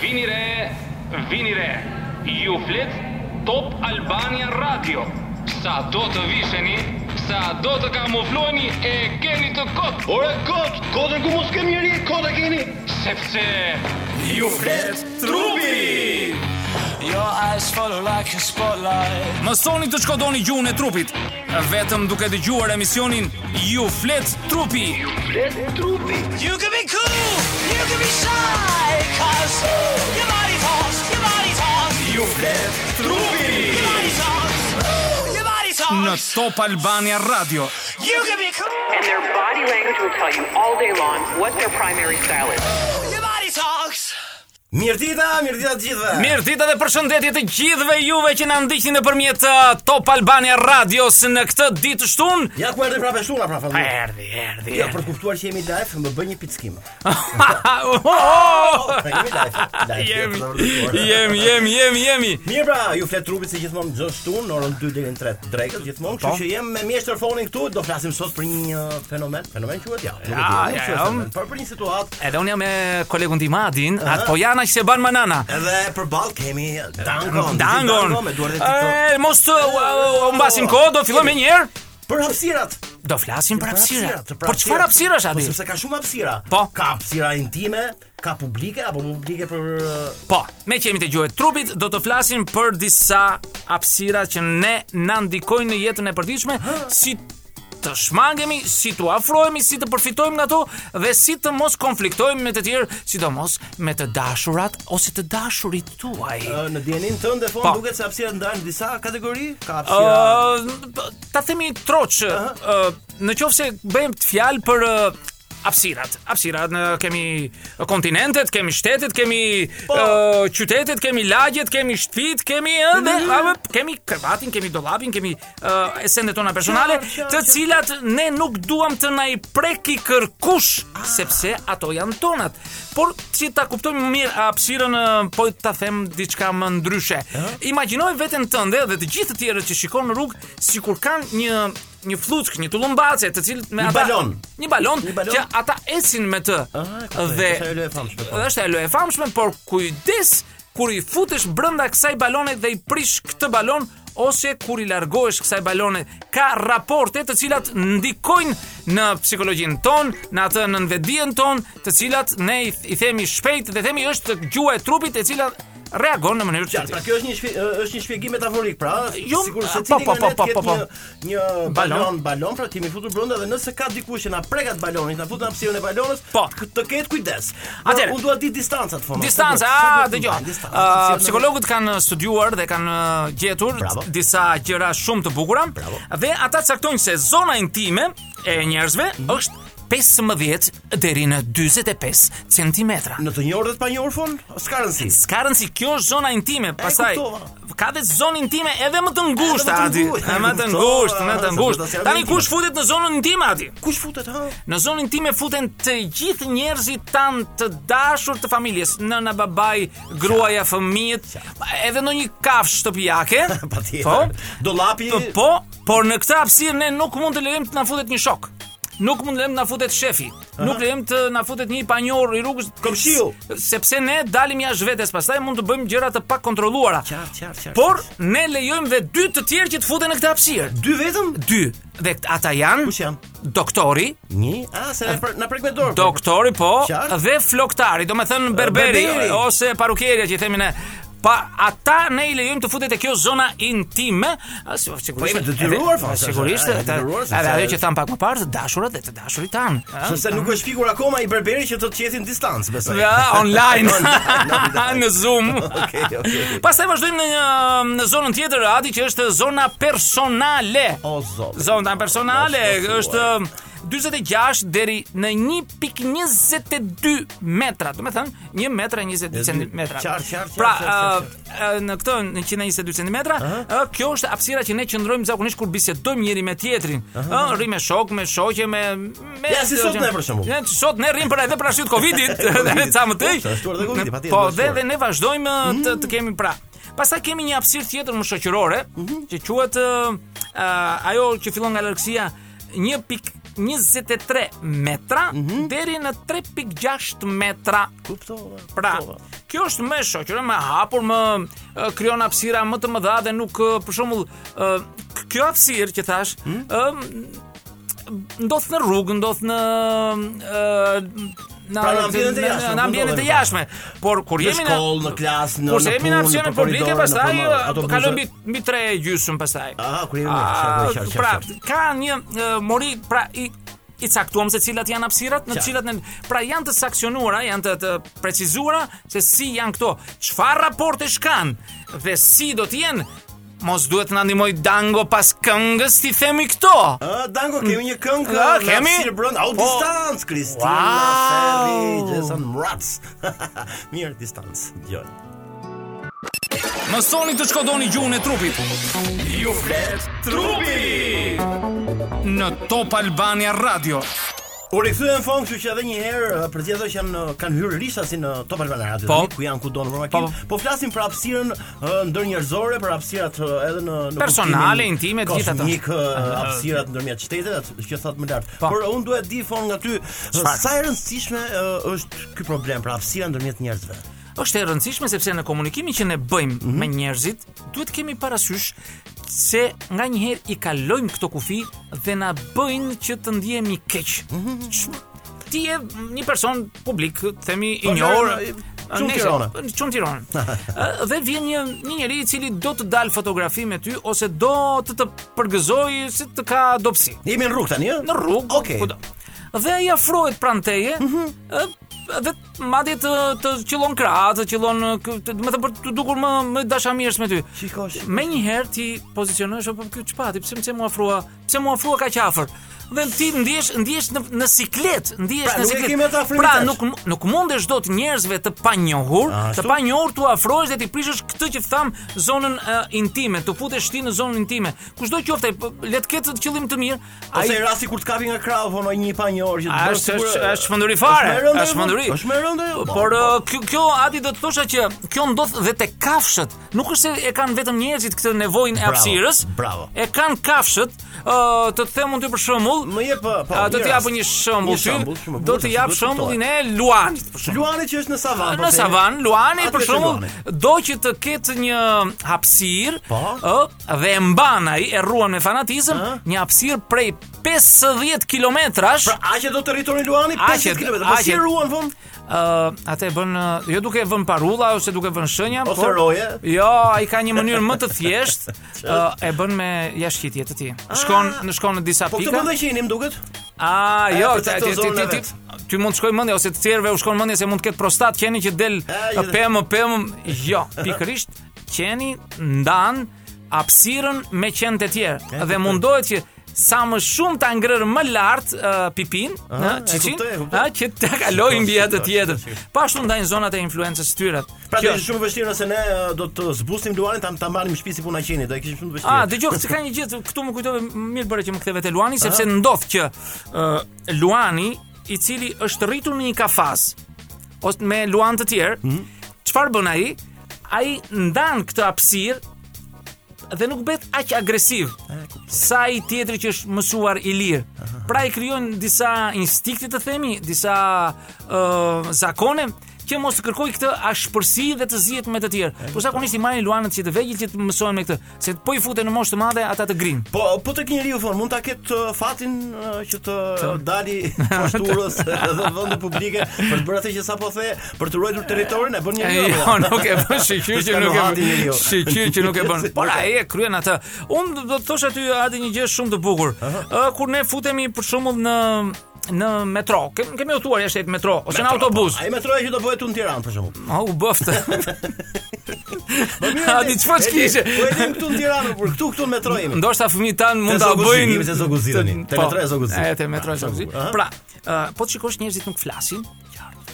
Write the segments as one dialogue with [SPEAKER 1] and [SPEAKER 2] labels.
[SPEAKER 1] Vini re, vini re. Ju flet Top Albania Radio. Sa do të visheni, sa do të kamufloheni e keni të kot,
[SPEAKER 2] Ore kot, kotën ku mos kemi njëri, kota keni.
[SPEAKER 1] sepse
[SPEAKER 3] You flet trupi
[SPEAKER 4] Your eyes follow like a spotlight.
[SPEAKER 3] Mësoni të shkodoni gjuhën e trupit Vetëm duke dëgjuar emisionin Ju flet trupi
[SPEAKER 2] Flet trupi.
[SPEAKER 4] You can be cool, you can be shy, cause ooh, your body talks, your body talks,
[SPEAKER 3] Ju flet
[SPEAKER 4] your body talks, ooh, your body
[SPEAKER 3] Në
[SPEAKER 4] talks.
[SPEAKER 3] Top Albania Radio
[SPEAKER 4] You can be cool,
[SPEAKER 5] And their body language will tell you all day long what their primary style is.
[SPEAKER 4] your body talks.
[SPEAKER 6] Mirëdita, mirëdita të gjithëve.
[SPEAKER 3] Mirë dita dhe përshëndetje të gjithëve juve që na ndiqni nëpërmjet uh, Top Albania Radios në këtë ditë shtun.
[SPEAKER 6] Ja ku erdhi prapë shtuna prapë
[SPEAKER 3] Pa
[SPEAKER 6] fallë.
[SPEAKER 3] erdhi, erdhi.
[SPEAKER 6] Ja për të kuptuar që jemi live, më bën një pickim.
[SPEAKER 3] oh, oh,
[SPEAKER 6] Pra
[SPEAKER 3] Jemi,
[SPEAKER 6] jemi live. live ja, për të kuptuar.
[SPEAKER 3] jemi, jemi, jemi, jemi.
[SPEAKER 6] Mirë pra, ju flet trupit si gjithmonë çdo shtun, në orën 2 deri në 3 drekës gjithmonë,
[SPEAKER 3] Po.
[SPEAKER 6] kështu që jem me mjeshtër fonin këtu, do flasim sot për një uh, fenomen, fenomen quhet ja. nuk e di,
[SPEAKER 3] Ja,
[SPEAKER 6] nuk
[SPEAKER 3] ja,
[SPEAKER 6] është
[SPEAKER 3] ja.
[SPEAKER 6] fenomen, Por për një situatë
[SPEAKER 3] Edhe unë jam me kolegun tim Adin, atë po janë që se ban manana.
[SPEAKER 6] edhe përballë kemi Dangon.
[SPEAKER 3] Dangon.
[SPEAKER 6] Me duart e TikTok.
[SPEAKER 3] E, Eh, mos të u- u- u mbasim kohë, do fillojmë një herë.
[SPEAKER 6] Për hapësirat.
[SPEAKER 3] Oh, Do flasim për hapësira.
[SPEAKER 6] për
[SPEAKER 3] Por çfarë hapësirash
[SPEAKER 6] Po,
[SPEAKER 3] Adi?
[SPEAKER 6] Sepse ka shumë hapësira.
[SPEAKER 3] Po.
[SPEAKER 6] Ka hapësira intime, ka publike apo publike për uh,
[SPEAKER 3] Po, me që jemi të gjuhet trupit, do të flasim për disa hapësira që ne na ndikojnë në jetën e përditshme, si të shmangemi, si të afrohemi, si të përfitojmë nga to dhe si të mos konfliktojmë me të tjerë, sidomos me të dashurat ose të dashurit tuaj.
[SPEAKER 6] Ë, Në DNA-n tënd fon
[SPEAKER 3] Po.
[SPEAKER 6] duket se hapësirat ndahen në disa kategori, ka hapësira.
[SPEAKER 3] Ë, ta themi troç, ë, në qoftë se bëjmë të fjalë për ë, hapësirat. Hapësirat në kemi kontinentet, kemi shtetet, kemi ë, qytetet, kemi lagjet, kemi shtëpitë, kemi edhe kemi krevatin, kemi dollapin, kemi ë, esendet tona personale,
[SPEAKER 6] Qartë, qartë,
[SPEAKER 3] të cilat ne nuk duam të na i preki kërkush, sepse ato janë tonat. Por që ta kuptojmë më mirë hapësirën, ë, po ta them diçka më ndryshe. Imagjinoj veten tënde dhe të gjithë të tjerët që shikon në rrugë sikur kanë një një fluck, një tullumbace, të cilët me
[SPEAKER 6] Një
[SPEAKER 3] ata
[SPEAKER 6] balon.
[SPEAKER 3] një balon,
[SPEAKER 6] Një balon.
[SPEAKER 3] që ata ecin me të.
[SPEAKER 6] Aha, e kuptoj,
[SPEAKER 3] dhe
[SPEAKER 6] është ajo e famshme, po.
[SPEAKER 3] Dhe është ajo e famshme, por kujdes kur i futesh brenda kësaj balone dhe i prish këtë balon ose kur i largohesh kësaj balone ka raporte të cilat ndikojnë në psikologjinë ton, në atë në vetdijen ton, të cilat ne i, i themi shpejt dhe themi është gjuha e trupit e cila reagon në mënyrë të
[SPEAKER 6] Qartë, pra kjo është një shpi, ë, është një shpjegim metaforik, pra
[SPEAKER 3] Jo,
[SPEAKER 6] sikur
[SPEAKER 3] a,
[SPEAKER 6] se
[SPEAKER 3] po,
[SPEAKER 6] cili
[SPEAKER 3] po,
[SPEAKER 6] nga
[SPEAKER 3] po,
[SPEAKER 6] ne
[SPEAKER 3] po,
[SPEAKER 6] të ketë
[SPEAKER 3] po, po.
[SPEAKER 6] një një
[SPEAKER 3] Balon.
[SPEAKER 6] balon, balon, pra kemi futur brenda dhe nëse ka dikush që na prek atë balonin, na fut në hapësirën e balonës,
[SPEAKER 3] Po.
[SPEAKER 6] k- të ketë kujdes.
[SPEAKER 3] Atëherë.
[SPEAKER 6] Por unë dua të di distancat fon.
[SPEAKER 3] Distanca, a, dëgjoj. Ë, Psikologët kanë studiuar dhe kanë ë, gjetur
[SPEAKER 6] Bravo.
[SPEAKER 3] disa gjëra shumë të bukura dhe ata caktojnë se zona intime e njerëzve është 15 deri në 45 centimetra.
[SPEAKER 6] në të njohur dhe të panjohur fon, s'ka rëndsi.
[SPEAKER 3] S'ka rëndësi, kjo është zona intime, pastaj
[SPEAKER 6] kuptova.
[SPEAKER 3] ka dhe zonë intime edhe më të ngushtë
[SPEAKER 6] Edhe më të
[SPEAKER 3] aty.
[SPEAKER 6] ngushtë,
[SPEAKER 3] Më të ngushtë, më të
[SPEAKER 6] kuptova, se do
[SPEAKER 3] ngushtë.
[SPEAKER 6] të sjellë
[SPEAKER 3] Tani
[SPEAKER 6] intime.
[SPEAKER 3] kush futet në zonën intime aty?
[SPEAKER 6] Kush futet, ha?
[SPEAKER 3] Në zonën time futen të gjithë njerëzit tan të dashur të familjes, nëna, babai, gruaja, fëmijët, edhe në një kafshë shtëpiake.
[SPEAKER 6] Patjetër.
[SPEAKER 3] Po,
[SPEAKER 6] Dollapi-
[SPEAKER 3] P- Po, por në këtë hapësirë ne nuk mund të lejojmë të na futet një shok. Nuk mund të lejmë të na futet shefi. Nuk lejmë të na futet një panjor i rrugës.
[SPEAKER 6] Komshiu.
[SPEAKER 3] s- Sepse ne dalim jashtë vetes, pastaj mund të bëjmë gjëra të pakontrolluara.
[SPEAKER 6] Qartë, qartë, qartë.
[SPEAKER 3] Por ne lejojmë dhe dy të tjerë që të futen në këtë hapësirë.
[SPEAKER 6] dy vetëm?
[SPEAKER 3] Dy. Dhe kt- ata janë
[SPEAKER 6] Kush janë?
[SPEAKER 3] doktori,
[SPEAKER 6] Një. A, se na pre- na prek me dorë.
[SPEAKER 3] Doktori po
[SPEAKER 6] Qartë.
[SPEAKER 3] dhe floktari, do me thënë berberi,
[SPEAKER 6] Berberi.
[SPEAKER 3] ose parukierja që i themi ne. Pa ata ne i lejojmë të futet e kjo zona intime, a, si- sigurisht.
[SPEAKER 6] Po, jemi detyruar,
[SPEAKER 3] edhe-
[SPEAKER 6] fa, se-
[SPEAKER 3] Sigurisht,
[SPEAKER 6] e, jemi
[SPEAKER 3] ata-
[SPEAKER 6] detyruar, sepse-
[SPEAKER 3] edhe ajo që tham pak më parë, të dashurat dhe të dashurit tan. a?
[SPEAKER 6] Sepse nuk është shpikur akoma i berberi që do të qetin distancë, besoj.
[SPEAKER 3] Ja, online.
[SPEAKER 6] online.
[SPEAKER 3] në Zoom.
[SPEAKER 6] Okej, okej, okej.
[SPEAKER 3] Pastaj vazhdojmë në një, në zonën tjetër, Adi, që është zona personale.
[SPEAKER 6] O zot.
[SPEAKER 3] Zona personale
[SPEAKER 6] Mos të thuaj.
[SPEAKER 3] është 46 deri në 1.22 metra, do të thënë 1 metra 20 centimetra.
[SPEAKER 6] Qartë, qartë, qartë,
[SPEAKER 3] Pra,
[SPEAKER 6] qartë,
[SPEAKER 3] ë, ë, në këtë në 122 centimetra, ë, kjo është hapësira që ne qëndrojmë zakonisht kur bisedojmë njëri me tjetrin. Ë, rrim me shok, me shoqe, me me
[SPEAKER 6] Ja, si sot ne, për shembull.
[SPEAKER 3] Ne sot ne rrim për edhe për arsye të Covidit, edhe ca më tej.
[SPEAKER 6] Po, është shtuar dhe Covidi, patjetër,
[SPEAKER 3] Po, dhe
[SPEAKER 6] është shtuar. Mm.
[SPEAKER 3] dhe ne vazhdojmë ë, të, të kemi pra. Pastaj kemi një hapësirë tjetër më
[SPEAKER 6] Mhm.
[SPEAKER 3] shoqërore, që quhet ë, ë, ajo që fillon nga largësia 1.1 23 metra
[SPEAKER 6] Mhm.
[SPEAKER 3] deri në 3.6 metra.
[SPEAKER 6] Kuptova.
[SPEAKER 3] Pra,
[SPEAKER 6] kuptova.
[SPEAKER 3] kjo është më e shoqëre, më e hapur, më e, krijon hapësira më të mëdha dhe nuk e, për shembull e, k- kjo hapësirë që thash,
[SPEAKER 6] Hmm?
[SPEAKER 3] ë ndodh në rrugë, ndodh në ë në
[SPEAKER 6] Pra, në ambientet e
[SPEAKER 3] në-
[SPEAKER 6] jashtme,
[SPEAKER 3] Në ambientet e jashtme, por kur
[SPEAKER 6] në
[SPEAKER 3] jemi në
[SPEAKER 6] shkollë, në klasë, në
[SPEAKER 3] Kur se
[SPEAKER 6] në
[SPEAKER 3] jemi në
[SPEAKER 6] punë,
[SPEAKER 3] aksionin
[SPEAKER 6] në
[SPEAKER 3] publike,
[SPEAKER 6] korridore, në
[SPEAKER 3] pastaj
[SPEAKER 6] promenadë,
[SPEAKER 3] uh,
[SPEAKER 6] autobuse.
[SPEAKER 3] kalojmë mbi mbi 3 gjysmë pastaj.
[SPEAKER 6] Ah, kur jemi në
[SPEAKER 3] Ah,
[SPEAKER 6] qartë, qartë,
[SPEAKER 3] Pra,
[SPEAKER 6] qartë.
[SPEAKER 3] ka një uh, mori, pra i i caktuam se cilat janë hapësirat, në
[SPEAKER 6] Qartë.
[SPEAKER 3] cilat në, pra janë të saksionuara, janë të, të precizuara se si janë këto, çfarë raportesh kanë dhe si do të jenë. Mos duhet na ndihmoj Dango pas këngës ti themi këto.
[SPEAKER 6] Ah, Dango, kemi një këngë
[SPEAKER 3] Ah,
[SPEAKER 6] në
[SPEAKER 3] kemi?
[SPEAKER 6] hapësirë brenda au
[SPEAKER 3] Po.
[SPEAKER 6] distancë, Kristina
[SPEAKER 3] Wow.
[SPEAKER 6] Seli, Jason Mraz. Mirë distancë. Jo.
[SPEAKER 3] Mësoni të shkodoni gjuhën e trupit
[SPEAKER 1] Ju flet trupi
[SPEAKER 3] në Top Albania Radio.
[SPEAKER 6] U rikthye në fond, kështu që edhe një herë eh, për gjithë ato që janë eh, kanë hyrë rishta si në Top Albana Radio,
[SPEAKER 3] Po.
[SPEAKER 6] tani, ku janë kudo në
[SPEAKER 3] Po.
[SPEAKER 6] Romakin. Po, po flasim për hapësirën eh, ndërnjerëzore, për hapësirat eh, edhe në, në
[SPEAKER 3] Personale, intime, të gjitha ato.
[SPEAKER 6] Një hapësirat ndërmjet shtetit, atë që thot më lart.
[SPEAKER 3] Po.
[SPEAKER 6] Por unë duhet di fond nga ty, eh, sa e rëndësishme eh, është ky problem për hapësira ndërmjet njerëzve.
[SPEAKER 3] është e rëndësishme sepse në komunikimin që ne bëjmë
[SPEAKER 6] Mhm.
[SPEAKER 3] me njerëzit, duhet kemi parasysh se nga njëherë i kalojmë këto kufi dhe na bëjnë që të ndjehemi keq.
[SPEAKER 6] Mhm.
[SPEAKER 3] Ç- Ti je një person publik, themi i
[SPEAKER 6] Po,
[SPEAKER 3] njohur,
[SPEAKER 6] në- në- qumë
[SPEAKER 3] nesër,
[SPEAKER 6] Tirana.
[SPEAKER 3] në Qumë Tirana. Ë, dhe vjen një një njeri i cili do të dal fotografi me ty ose do të të përgëzojë se të ka dobësi
[SPEAKER 6] Jemi në rrugë tani, ë?
[SPEAKER 3] në rrugë,
[SPEAKER 6] Okej.
[SPEAKER 3] kudo. Dhe ai afrohet pranë teje,
[SPEAKER 6] Mhm.
[SPEAKER 3] ë, dhe madje të të qillon krah, të qillon, ë, kë- të- do të thënë për të dukur më më dashamirës me ty.
[SPEAKER 6] Shikosh.
[SPEAKER 3] Me një herë ti pozicionohesh apo ky çpati, pse pse mu afrua, pse mu afrua kaq afër. Dhe ti ndjesh ndjesh në në siklet, ndjesh
[SPEAKER 6] Pra,
[SPEAKER 3] në
[SPEAKER 6] nuk e
[SPEAKER 3] siklet.
[SPEAKER 6] kemi atë afrimin
[SPEAKER 3] pra
[SPEAKER 6] tash.
[SPEAKER 3] nuk mu- nuk mundesh dot njerëzve të panjohur,
[SPEAKER 6] Ashtu?
[SPEAKER 3] të panjohur tu afrohesh dhe ti prishësh këtë që tham zonën ë, intime, të futesh ti në zonën intime. Kushdo qoftë, ai, p- le të ketë qëllim të mirë,
[SPEAKER 6] Ose i rasti kur të kapi nga krahu, po në një pa një orë që të
[SPEAKER 3] A
[SPEAKER 6] bërë
[SPEAKER 3] është
[SPEAKER 6] sigur,
[SPEAKER 3] është
[SPEAKER 6] eh,
[SPEAKER 3] është shmënduri fare.
[SPEAKER 6] është me rëndë,
[SPEAKER 3] Është shmënduri.
[SPEAKER 6] po, është me rëndë, po,
[SPEAKER 3] Por
[SPEAKER 6] po.
[SPEAKER 3] ë, kjo kjo Adi do të thosha që kjo ndodh dhe te kafshët. Nuk është se e kanë vetëm njerëzit këtë nevojën e
[SPEAKER 6] Bravo,
[SPEAKER 3] hapësirës.
[SPEAKER 6] bravo.
[SPEAKER 3] E kanë kafshët, ë të të them unë ty për shembull,
[SPEAKER 6] Më jep po, po.
[SPEAKER 3] a, do
[SPEAKER 6] një
[SPEAKER 3] të
[SPEAKER 6] rast.
[SPEAKER 3] japë një shembull
[SPEAKER 6] Një
[SPEAKER 3] ty.
[SPEAKER 6] shembull, shumë e
[SPEAKER 3] Do
[SPEAKER 6] bukur,
[SPEAKER 3] të
[SPEAKER 6] se
[SPEAKER 3] jap
[SPEAKER 6] duhet të
[SPEAKER 3] shembullin e Luanit për shembull.
[SPEAKER 6] Luani që është në savan. po,
[SPEAKER 3] Në
[SPEAKER 6] se-
[SPEAKER 3] Savan, Luani
[SPEAKER 6] Atë
[SPEAKER 3] për
[SPEAKER 6] është
[SPEAKER 3] shembull
[SPEAKER 6] Luani.
[SPEAKER 3] do që të ketë një hapësirë,
[SPEAKER 6] Po.
[SPEAKER 3] ë, dhe e mban ai, e ruan me fanatizëm,
[SPEAKER 6] Ëh.
[SPEAKER 3] një hapësirë prej 50 kilometrash.
[SPEAKER 6] Pra, a që do territorin Luani
[SPEAKER 3] A që-
[SPEAKER 6] 50 km.
[SPEAKER 3] a
[SPEAKER 6] Po si
[SPEAKER 3] që-
[SPEAKER 6] ruan von?
[SPEAKER 3] Ë, atë e bën ë, jo duke vënë parulla ose duke vënë shenja,
[SPEAKER 6] Ose roje.
[SPEAKER 3] Jo, ai ka një mënyrë më të thjeshtë, ë, e bën me jashtëqitje të tij. Shkon në shkon në disa
[SPEAKER 6] Ah. Po këtë
[SPEAKER 3] pika.
[SPEAKER 6] mendoj që jeni më duket.
[SPEAKER 3] A,
[SPEAKER 6] E,
[SPEAKER 3] jo,
[SPEAKER 6] për
[SPEAKER 3] ti
[SPEAKER 6] këtë
[SPEAKER 3] ti
[SPEAKER 6] zonë
[SPEAKER 3] ti
[SPEAKER 6] e
[SPEAKER 3] ti
[SPEAKER 6] vet.
[SPEAKER 3] ti mund të shkoj mendja ose të tjerëve u shkon mendja se mund të ketë prostat qeni që del
[SPEAKER 6] E, jo.
[SPEAKER 3] pem pem. Jo, pikërisht qeni ndan hapësirën me qenë të tjerë dhe mundohet që sa më shumë ta ngrërë më lart uh, pipin, ëh,
[SPEAKER 6] e
[SPEAKER 3] çiçin,
[SPEAKER 6] kuptoj, e kuptoj.
[SPEAKER 3] ëh, që ta kalojë mbi
[SPEAKER 6] Shiko,
[SPEAKER 3] atë
[SPEAKER 6] shiko,
[SPEAKER 3] tjetër.
[SPEAKER 6] shiko, shiko.
[SPEAKER 3] Po ashtu ndajnë zonat e influencës të tyre.
[SPEAKER 6] Pra do
[SPEAKER 3] Kjo
[SPEAKER 6] ishte shumë vështirë nëse ne eh, do të zbusnim Luanin, ta ta marrim shtëpi si puna qeni, do e kishim shumë të vështirë.
[SPEAKER 3] A, dëgjoj, se ka një gjë këtu më kujtove mirë bëre që më ktheve te Luani, sepse ndodh që ë, Luani, i cili është rritur në një kafaz ose me Luan të tjerë, çfarë bën ai? Ai ndan këtë hapësirë dhe nuk bëhet aq agresiv sa i tjetri që është mësuar i lirë. Pra i krijojnë disa instinkte të themi, disa ë zakone që mos të kërkoj këtë ashpërsi dhe të zihet me të tjerë. Po zakonisht i marrin luanët që të vegjël që të mësojnë me këtë, se po i futen në moshë të madhe ata të grinë.
[SPEAKER 6] Po, po tek njeriu von mund ta ketë eh, fatin eh, që të eh, dali poshturës edhe vende publike për të bërë atë që sapo the, për të ruajtur territorin e bën
[SPEAKER 3] E,
[SPEAKER 6] njeriu.
[SPEAKER 3] Jo,
[SPEAKER 6] apo?
[SPEAKER 3] nuk e bën, shiqyr që
[SPEAKER 6] S'ka
[SPEAKER 3] nuk e
[SPEAKER 6] nuhati
[SPEAKER 3] bën.
[SPEAKER 6] njeriu.
[SPEAKER 3] Shiqyr që nuk e bën. Por ai e kryen atë. Unë do të thosh aty atë një gjë shumë të bukur. Ë, kur ne futemi për shembull në në metro. Kem, kemi udhëtuar jashtë jetë metro ose në
[SPEAKER 6] Metro,
[SPEAKER 3] autobus.
[SPEAKER 6] po. Ai metroja që do bëhet unë në Tiranë për shembull.
[SPEAKER 3] Ma u bëftë.
[SPEAKER 6] mirë,
[SPEAKER 3] Adi çfarë
[SPEAKER 6] e di,
[SPEAKER 3] kishe?
[SPEAKER 6] Po e dim këtu në Tiranë, por këtu këtu në metro jemi.
[SPEAKER 3] Ndoshta fëmijët tan mund
[SPEAKER 6] Te
[SPEAKER 3] ta
[SPEAKER 6] Zoguzi,
[SPEAKER 3] bëjnë.
[SPEAKER 6] jemi te Zoguzi tani. Te
[SPEAKER 3] Po,
[SPEAKER 6] metro e Zoguzi.
[SPEAKER 3] E te metro e
[SPEAKER 6] Pra,
[SPEAKER 3] Zoguzi.
[SPEAKER 6] Zogu, aha.
[SPEAKER 3] Pra, ë, po të shikosh njerëzit nuk flasin,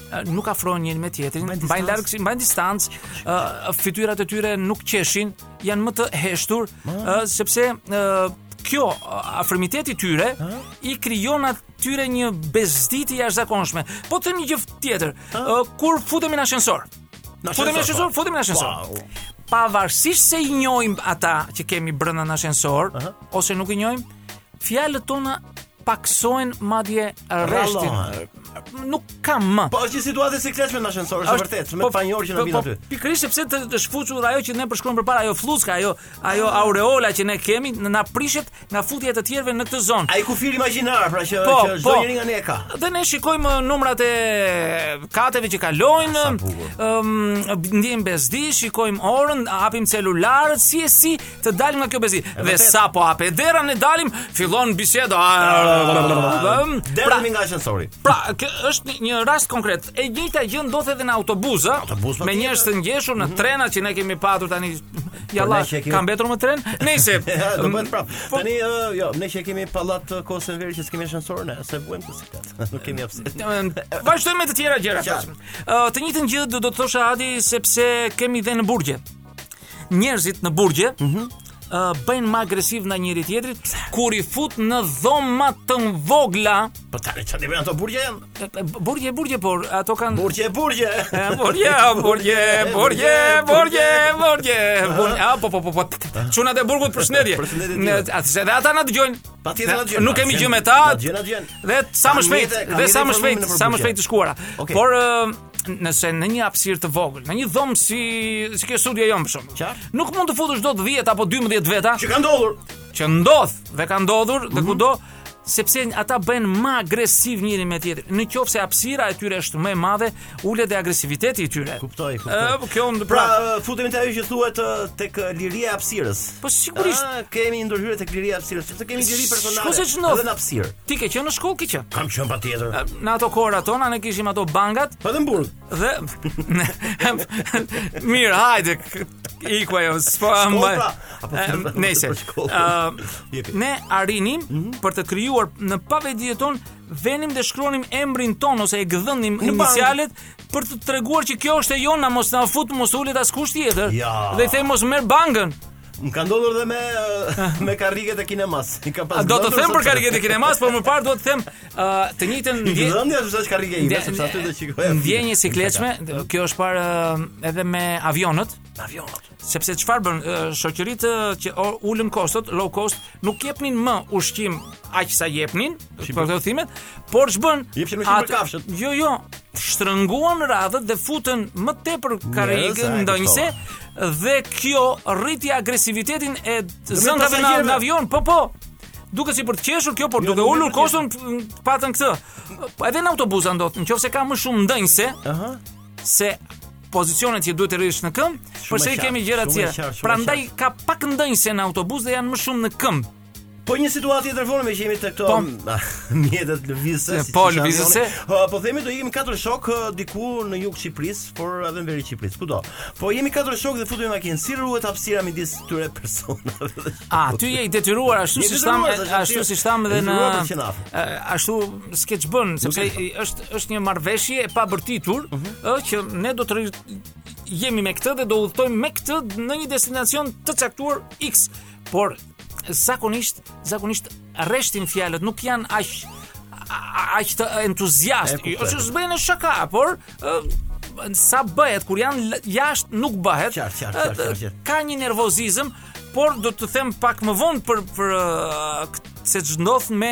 [SPEAKER 3] ë, nuk afrohen njëri me tjetrin, mbajnë
[SPEAKER 6] Mbajnë distancë.
[SPEAKER 3] larg, si- mbajnë distancë, ë, fytyrat e tyre nuk qeshin, janë më të heshtur, ë, sepse ë, kjo ë, afërmiteti i tyre i krijon atyre një bezditje jashtëzakonshme. Po të them një gjë tjetër, ë, kur futemi në ascensor, futemi në ascensor,
[SPEAKER 6] po.
[SPEAKER 3] futemi në ascensor
[SPEAKER 6] Po,
[SPEAKER 3] pavarësisht se i njohim ata që kemi brenda në ascensor ose nuk i njohim, fjalët tona paksojnë madje rreshtin.
[SPEAKER 6] Rallohen.
[SPEAKER 3] Nuk ka më.
[SPEAKER 6] Po është një situatë sikletshme në ascensor, është vërtet, shumë
[SPEAKER 3] po,
[SPEAKER 6] e panjohur që
[SPEAKER 3] po,
[SPEAKER 6] na vjen
[SPEAKER 3] po,
[SPEAKER 6] aty.
[SPEAKER 3] Pikërisht sepse të, të shfuqur ajo që ne përshkruam përpara, ajo flluzka, ajo ajo aureola që ne kemi, n- na prishet nga futja e të tjerëve në këtë zonë.
[SPEAKER 6] Ai kufir imagjinar, pra që
[SPEAKER 3] Po,
[SPEAKER 6] që
[SPEAKER 3] po.
[SPEAKER 6] çdo njeri nga ne e ka.
[SPEAKER 3] Dhe ne shikojmë numrat e kateve që kalojnë,
[SPEAKER 6] Sa bukur.
[SPEAKER 3] ëm ndjejmë bezdi, shikojmë orën, hapim celularët, si e si të dalim nga kjo bezdi. Dhe
[SPEAKER 6] vërtet.
[SPEAKER 3] sapo hapë dera ne dalim, fillon biseda.
[SPEAKER 6] Ah,
[SPEAKER 3] Ëm, pra-
[SPEAKER 6] Derdhemi nga ascensori.
[SPEAKER 3] Pra, kë është një- një rast konkret. E njëjta gjë ndodh edhe në autobus, ë?
[SPEAKER 6] Autobus,
[SPEAKER 3] me
[SPEAKER 6] patjetër.
[SPEAKER 3] njerëz të ngjeshur në trena që ne kemi patur tani. Ja
[SPEAKER 6] Mhm. Po,
[SPEAKER 3] Allah,
[SPEAKER 6] ne që e kemi-
[SPEAKER 3] ka mbetur më tren? Nëse.
[SPEAKER 6] Ja, do bëhet prap.
[SPEAKER 3] Po,
[SPEAKER 6] Tani ë, jo, ne që kemi pallat ë, kosën verë që s'kemi ascensor ne, se buajmë të siklet. Nuk kemi hapësirë.
[SPEAKER 3] ëm, Vazhdojmë me të tjera gjëra.
[SPEAKER 6] Qartë.
[SPEAKER 3] Ë, Të njëjtën gjë do do të thosha Adi sepse kemi dhe në burgje. Njerëzit në burgje
[SPEAKER 6] Mhm.
[SPEAKER 3] ë, bëjnë më agresiv ndaj njëri tjetrit kur i fut në dhoma të vogla.
[SPEAKER 6] Po tani çfarë ti bën ato burgje janë?
[SPEAKER 3] E, e, Burgje, burgje, por ato kanë
[SPEAKER 6] Burgje, burgje.
[SPEAKER 3] Borje, borje, borje, borje, borje, borje. A, po, po, po, po. Çunat e burgut përshëndetje.
[SPEAKER 6] Përshëndetje
[SPEAKER 3] Ne-
[SPEAKER 6] tjera.
[SPEAKER 3] Atë se dhe ata na dëgjojnë.
[SPEAKER 6] Patjetër na dëgjojnë.
[SPEAKER 3] Nuk kemi
[SPEAKER 6] Na
[SPEAKER 3] gjë
[SPEAKER 6] dëgjojnë,
[SPEAKER 3] me ta.
[SPEAKER 6] na dëgjojnë, na dëgjojnë.
[SPEAKER 3] Dhe sa më
[SPEAKER 6] Kam
[SPEAKER 3] shpejt,
[SPEAKER 6] jetë- kam
[SPEAKER 3] dhe
[SPEAKER 6] jetë
[SPEAKER 3] sa më
[SPEAKER 6] informimin
[SPEAKER 3] shpejt,
[SPEAKER 6] në
[SPEAKER 3] sa më
[SPEAKER 6] përbuqje.
[SPEAKER 3] shpejt të shkuara.
[SPEAKER 6] Okej.
[SPEAKER 3] Por ë, nëse në një hapësirë të vogël, në një dhomë si si kjo studio jon për shemb.
[SPEAKER 6] Qartë.
[SPEAKER 3] Nuk mund të futesh dot 10 apo 12 veta
[SPEAKER 6] Që ka ndodhur?
[SPEAKER 3] që ndodh dhe ka ndodhur
[SPEAKER 6] Mhm.
[SPEAKER 3] dhe kudo sepse ata bëhen më agresiv njëri me tjetrin. Në qoftë se hapësira e tyre është më e madhe, ulet e agresiviteti i tyre.
[SPEAKER 6] Kuptoj, kuptoj.
[SPEAKER 3] Ë, po kjo pra,
[SPEAKER 6] Pra, ë, futemi te ajo që thuhet ë, tek ë, liria e hapësirës.
[SPEAKER 3] Po, sigurisht.
[SPEAKER 6] Ah, kemi një ndërhyrje tek liria e hapësirës, sepse kemi liri personale.
[SPEAKER 3] Shko se që ndodh.
[SPEAKER 6] Edhe në hapësirë. Ah,
[SPEAKER 3] ti ke qenë në shkollë ke qenë.
[SPEAKER 6] Kam qenë patjetër.
[SPEAKER 3] Në ato kohëra tona ne kishim ato bangat
[SPEAKER 6] Po edhe në burg.
[SPEAKER 3] dhe mirë, hajde iku ajo. s'po mbaj.
[SPEAKER 6] pra. Apo
[SPEAKER 3] Em,
[SPEAKER 6] për-
[SPEAKER 3] Nëse.
[SPEAKER 6] për shkollë.
[SPEAKER 3] ë,
[SPEAKER 6] Jepi. Mhm.
[SPEAKER 3] ne arrinim për të krijuar në pavedijet ton venim dhe shkronim emrin ton ose e gdhënim
[SPEAKER 6] bangë.
[SPEAKER 3] inicialet për të treguar që kjo është e jona, mos na fut, mos ulet askush tjetër.
[SPEAKER 6] Ja.
[SPEAKER 3] Dhe i them mos merr bangën.
[SPEAKER 6] Më ka ndodhur dhe me ë, me karriget e kinemas. I kam
[SPEAKER 3] A,
[SPEAKER 6] pas.
[SPEAKER 3] Do të
[SPEAKER 6] gëndur,
[SPEAKER 3] them për
[SPEAKER 6] sepse-
[SPEAKER 3] kariket e kinemas, por më parë do të them ë, të njëjtën ndje-
[SPEAKER 6] Gëdhëndja është çka karrige ime, sepse aty do shikoj.
[SPEAKER 3] Ndjenjë sikletshme, kjo është parë ë, edhe me avionët,
[SPEAKER 6] Avionat.
[SPEAKER 3] sepse çfarë bën ë, shoqëritë ë, që o- ulën kostot, low cost, nuk jepnin më ushqim aq sa jepnin, po këto thimet, por ç'bën?
[SPEAKER 6] Jepshin me qipër
[SPEAKER 3] atë-
[SPEAKER 6] kafshët.
[SPEAKER 3] Jo, jo, shtrënguan radhët dhe futën më tepër
[SPEAKER 6] Njerëz,
[SPEAKER 3] karrigën
[SPEAKER 6] a, e
[SPEAKER 3] ndonjëse dhe kjo rriti agresivitetin e zëndave në,
[SPEAKER 6] pasagjerëve.
[SPEAKER 3] në avion, po po. Duke si për të qeshur kjo, por
[SPEAKER 6] Jo,
[SPEAKER 3] duke
[SPEAKER 6] nuk
[SPEAKER 3] ulur
[SPEAKER 6] duket
[SPEAKER 3] koston p- patën këtë. Po edhe në autobusa ndodh, nëse ka më shumë ndonjëse,
[SPEAKER 6] Aha.
[SPEAKER 3] se pozicionet që duhet të rrish në këmbë, përse i
[SPEAKER 6] qartë,
[SPEAKER 3] kemi gjëra të
[SPEAKER 6] shumë e
[SPEAKER 3] tjera.
[SPEAKER 6] qartë, shumë e
[SPEAKER 3] Prandaj ka pak ndonjëse në autobus dhe janë më shumë në këmbë.
[SPEAKER 6] Po një situatë tjetër vonë me që jemi të këto
[SPEAKER 3] Po.
[SPEAKER 6] mjetet lëvizëse.
[SPEAKER 3] Po,
[SPEAKER 6] që janë
[SPEAKER 3] lëvizëse.
[SPEAKER 6] avioni. Ë, Po themi do jemi katër shok ë, diku në jug të Shqipërisë, por edhe në veri të Shqipërisë, kudo. Po jemi katër shok dhe futemi në makinë. Si ruhet hapësira midis këtyre personave? dhe
[SPEAKER 3] A, ty je i detyruar ashtu
[SPEAKER 6] Je
[SPEAKER 3] si tham,
[SPEAKER 6] detyruar, është
[SPEAKER 3] ashtu
[SPEAKER 6] vërtet.
[SPEAKER 3] si tham edhe
[SPEAKER 6] Je
[SPEAKER 3] në
[SPEAKER 6] detyruar për qenë afër.
[SPEAKER 3] e, ashtu s'ke ç'bën, sepse
[SPEAKER 6] e Mhm.
[SPEAKER 3] i- është është një marrëveshje e pabërtitur, ë që ne do të rri- jemi me këtë dhe do udhtojmë me këtë në një destinacion të caktuar X, por zakonisht zakonisht rreshtin fjalët nuk janë aq a- aq të entuziast.
[SPEAKER 6] E kuptoj.
[SPEAKER 3] Ose s'bëjnë në shaka, por ë, sa bëhet kur janë l- jashtë nuk bëhet.
[SPEAKER 6] Qartë, qartë, qartë,
[SPEAKER 3] Ë,
[SPEAKER 6] qartë, qartë.
[SPEAKER 3] Ka një nervozizëm, por do të them pak më vonë për për ë, k- se ç'ndodh me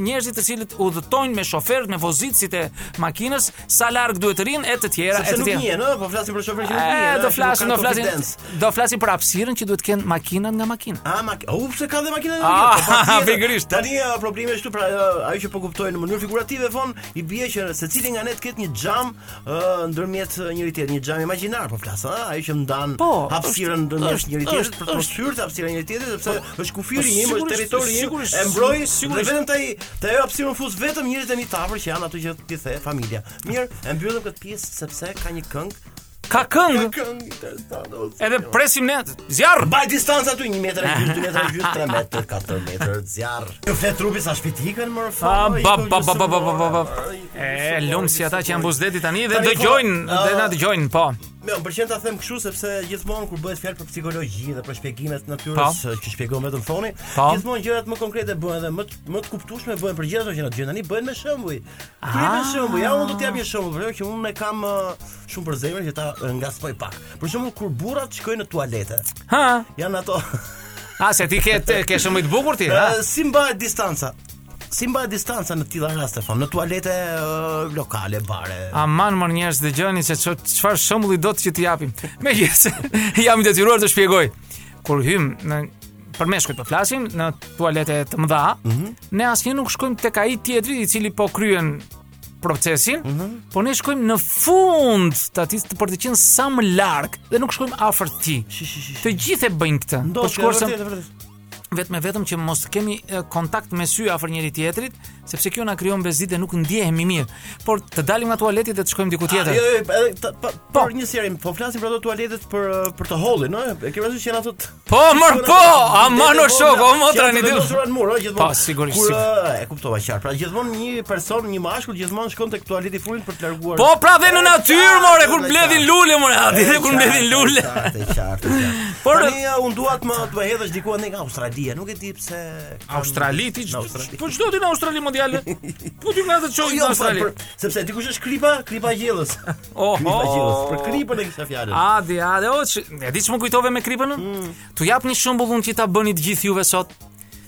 [SPEAKER 3] njerëzit të cilët udhëtojnë me shoferët, me vozitësit e makinës, sa larg duhet të rinë e të tjera, e
[SPEAKER 6] Sepse
[SPEAKER 3] të
[SPEAKER 6] nuk
[SPEAKER 3] tjera.
[SPEAKER 6] njihen, ë, po flasim për shoferin që nuk njihen.
[SPEAKER 3] E,
[SPEAKER 6] ë,
[SPEAKER 3] do
[SPEAKER 6] që
[SPEAKER 3] flasim, do
[SPEAKER 6] nuk kanë
[SPEAKER 3] flasim,
[SPEAKER 6] confidence.
[SPEAKER 3] do flasim për hapësirën që duhet të kenë makinat nga makina.
[SPEAKER 6] A, ma, u, pse ka dhe makina
[SPEAKER 3] Ah,
[SPEAKER 6] Ah,
[SPEAKER 3] pikërisht.
[SPEAKER 6] Tani uh, problemi është këtu pra uh, ajo që po kuptoj në mënyrë figurative von i bie që secili nga ne të ketë një xham uh, ndërmjet uh, njëri tjetrit, një xham imagjinar po flas, ë, ajo që ndan
[SPEAKER 3] Po, është-
[SPEAKER 6] hapësirën ndërmjet
[SPEAKER 3] është- është-
[SPEAKER 6] njëri tjetrit për të mos
[SPEAKER 3] është-
[SPEAKER 6] hyrë të hapësira e njëri tjetrit sepse është
[SPEAKER 3] po,
[SPEAKER 6] kufiri im, është
[SPEAKER 3] sigurisht,
[SPEAKER 6] territori im,
[SPEAKER 3] sigurisht,
[SPEAKER 6] e mbroj dhe
[SPEAKER 3] sigurisht.
[SPEAKER 6] vetëm te te ajo hapësirën fus vetëm njerëzit e mi tafër që janë ato që ti the familja. Mirë, e mbyllim këtë pjesë sepse ka një këngë,
[SPEAKER 3] Ka këngë,
[SPEAKER 6] këngë interesante. o,
[SPEAKER 3] edhe presim ne zjarr.
[SPEAKER 6] Baj distancë aty 1 metër e gjysmë, 2 metra e gjysmë, 3 metër, 4 metër, zjarr. Ju flet trupi sa shpitikën më po rfa.
[SPEAKER 3] A, Ah, ba, ba, ba, ba, ba, ba, ba, ba.
[SPEAKER 6] po
[SPEAKER 3] E, lumë si ata që janë buzdeti tani dhe
[SPEAKER 6] Tani, po,
[SPEAKER 3] dëgjojnë, dhe
[SPEAKER 6] ë,
[SPEAKER 3] na dëgjojnë, po.
[SPEAKER 6] Më pëlqen ta them kështu sepse gjithmonë kur bëhet fjalë për psikologji dhe për shpjegimet të
[SPEAKER 3] Po.
[SPEAKER 6] natyrës që shpjegon vetëm thoni,
[SPEAKER 3] Po.
[SPEAKER 6] gjithmonë gjërat më konkrete bëhen dhe më të, më të kuptueshme bëhen për gjithë ato që na gjën tani bëhen me shembuj. Ti me
[SPEAKER 3] Ah.
[SPEAKER 6] shembuj, ja unë do t'jap një shembull, por jo që unë e kam ë, shumë për zemër që ta ë, ngaspoj pak. Për shembull kur burrat shkojnë në tualete,
[SPEAKER 3] Ha.
[SPEAKER 6] janë ato
[SPEAKER 3] A se ti ke te- ke shumë i të bukur ti, ha?
[SPEAKER 6] Ë, si mbahet distanca? si mbahet distanca në tilla raste, fam, në tualete ë, lokale, bare.
[SPEAKER 3] Aman mor njerëz dëgjoni se ço- çfarë shembulli do të që t'i japim. Megjithëse jam i detyruar të shpjegoj. Kur hym në për meshkujt po flasim në tualete të mëdha, ne asnjë nuk shkojmë tek ai tjetri i cili po kryen procesin, po ne shkojmë në fund të atij për të qenë sa më larg dhe nuk shkojmë afër ti.
[SPEAKER 6] Shi, shi, shi, shi.
[SPEAKER 3] Të po gjithë e bëjnë këtë.
[SPEAKER 6] Ndoshta,
[SPEAKER 3] shkuarsëm-
[SPEAKER 6] vërtet, vërtet.
[SPEAKER 3] vetëm e vetëm që mos kemi e, kontakt me sy afër njëri tjetrit, sepse kjo na krijon bezdi dhe nuk ndjehemi mirë. Por të dalim nga tualeti dhe të shkojmë diku
[SPEAKER 6] Jo,
[SPEAKER 3] tjetër.
[SPEAKER 6] jo, jo, edhe ta- pa- për një serim, po flasim për ato tualetet për ë, për të hollin, ë. E ke parasysh që janë ato të-
[SPEAKER 3] Po, mor po, aman o shok, o motra
[SPEAKER 6] Që
[SPEAKER 3] një
[SPEAKER 6] janë të
[SPEAKER 3] ditë.
[SPEAKER 6] vendosura në mur, ë, gjithmonë.
[SPEAKER 3] Po, sigurisht,
[SPEAKER 6] Kur
[SPEAKER 3] sigurisht.
[SPEAKER 6] ë, e kuptova qartë. Pra gjithmonë një person, një mashkull gjithmonë shkon tek tualeti i frymit për të larguar.
[SPEAKER 3] Po, pra dhe në natyrë, more, kur
[SPEAKER 6] Qartë,
[SPEAKER 3] mbledhin
[SPEAKER 6] qartë.
[SPEAKER 3] lule, more,
[SPEAKER 6] E,
[SPEAKER 3] aty dhe kur
[SPEAKER 6] qartë,
[SPEAKER 3] mbledhin lule.
[SPEAKER 6] Qartë, e qartë. e qartë.
[SPEAKER 3] Por-
[SPEAKER 6] Tani ë, unë dua të më të më hedhësh diku ende nga Australia, nuk e di pse. kam-
[SPEAKER 3] Australi, ti,
[SPEAKER 6] Në Australi.
[SPEAKER 3] po çdo ti në Australi mondiale. Po ti nga të qojnë në
[SPEAKER 6] Jo,
[SPEAKER 3] Australi.
[SPEAKER 6] për- sepse dikush është kripa, kripa e gjellës.
[SPEAKER 3] Oho.
[SPEAKER 6] Kripa e gjellës.
[SPEAKER 3] Oh.
[SPEAKER 6] Për kripën e kisha fjalën.
[SPEAKER 3] Adi, adi, o, që, e di që më kujtove me kripën?
[SPEAKER 6] Mm.
[SPEAKER 3] Tu jap një shembull unë që ta bëni të gjithë juve sot.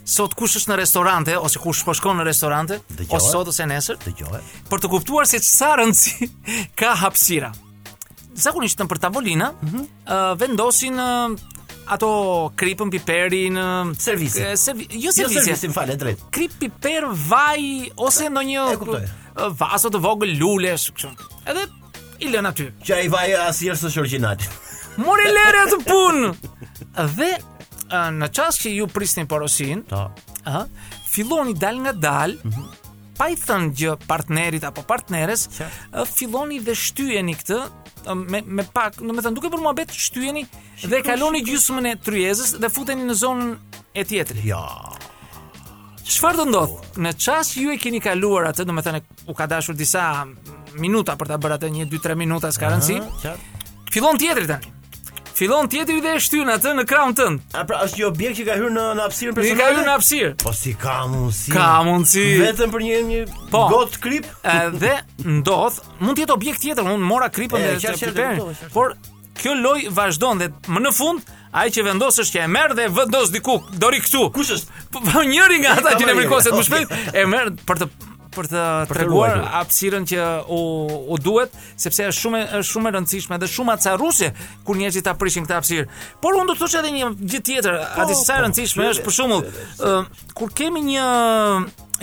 [SPEAKER 3] Sot kush është në restorante ose kush po shkon në restorante,
[SPEAKER 6] Dëgjoj.
[SPEAKER 3] ose sot ose nesër,
[SPEAKER 6] Dëgjoj.
[SPEAKER 3] për të kuptuar se sa rëndësi ka hapësira. Zakonisht në për tavolina,
[SPEAKER 6] Mhm.
[SPEAKER 3] ë, vendosin ë, ato kripën, piperin, ë,
[SPEAKER 6] Servise.
[SPEAKER 3] e, servi- jo
[SPEAKER 6] Jo
[SPEAKER 3] servise.
[SPEAKER 6] servisin, fale drejt.
[SPEAKER 3] Krip, piper, vaj ose ndonjë
[SPEAKER 6] E kuptoj.
[SPEAKER 3] ë, vaso të vogël lulesh kështu. Edhe i lën aty.
[SPEAKER 6] Që ai vaj asnjëherë s'është origjinal.
[SPEAKER 3] Mori lere atë punë. Dhe ë, në çast që ju prisnin porosin,
[SPEAKER 6] Po.
[SPEAKER 3] ë, filloni dal nga dal, pa i thënë gjë partnerit apo partneres, ë, filloni dhe shtyjeni këtë ë, me me pak, do të thënë duke për muhabet shtyjeni dhe kaloni gjysmën e tryezës dhe futeni në zonën e tjetrit.
[SPEAKER 6] Jo.
[SPEAKER 3] Çfarë do ndodh? Në çast që ju e keni kaluar atë, do të thënë u ka dashur disa minuta për ta bërë atë 1 2 3 minuta s'ka rëndësi.
[SPEAKER 6] Ëh, qartë.
[SPEAKER 3] Fillon tjetri tani. Fillon tjetri dhe e shtyn atë në krahun tënd.
[SPEAKER 6] A pra është një objekt që ka hyrë në në hapësirën
[SPEAKER 3] Ti
[SPEAKER 6] personale?
[SPEAKER 3] ka hyrë në hapësirë.
[SPEAKER 6] Po si ka mundsi?
[SPEAKER 3] Ka mundësi.
[SPEAKER 6] Vetëm për një një
[SPEAKER 3] Po.
[SPEAKER 6] gotë krip?
[SPEAKER 3] Ë, Dhe ndodh, mund të jetë objekt tjetër, unë mora kripën
[SPEAKER 6] E,
[SPEAKER 3] dhe
[SPEAKER 6] qartë,
[SPEAKER 3] të
[SPEAKER 6] qartë,
[SPEAKER 3] piperin,
[SPEAKER 6] e kuptova, qartë.
[SPEAKER 3] por kjo loj vazhdon dhe më në fund ai që vendos është që e merr dhe vendos diku, dori këtu.
[SPEAKER 6] Kush është?
[SPEAKER 3] Po po, njëri nga ata
[SPEAKER 6] Ka
[SPEAKER 3] që ne
[SPEAKER 6] marrë
[SPEAKER 3] vrikoset
[SPEAKER 6] njëri,
[SPEAKER 3] më shpejt e merr për të për të treguar
[SPEAKER 6] ruajtur.
[SPEAKER 3] hapësirën që u u duhet, sepse është shumë e- është shumë e rëndësishme dhe shumë acarruse kur njerëzit ta prishin këtë hapësirë. Por unë do të thosh edhe një gjë tjetër, po, atë sa e
[SPEAKER 6] po,
[SPEAKER 3] rëndësishme
[SPEAKER 6] shpjeve,
[SPEAKER 3] është për shembull, ë, kur kemi një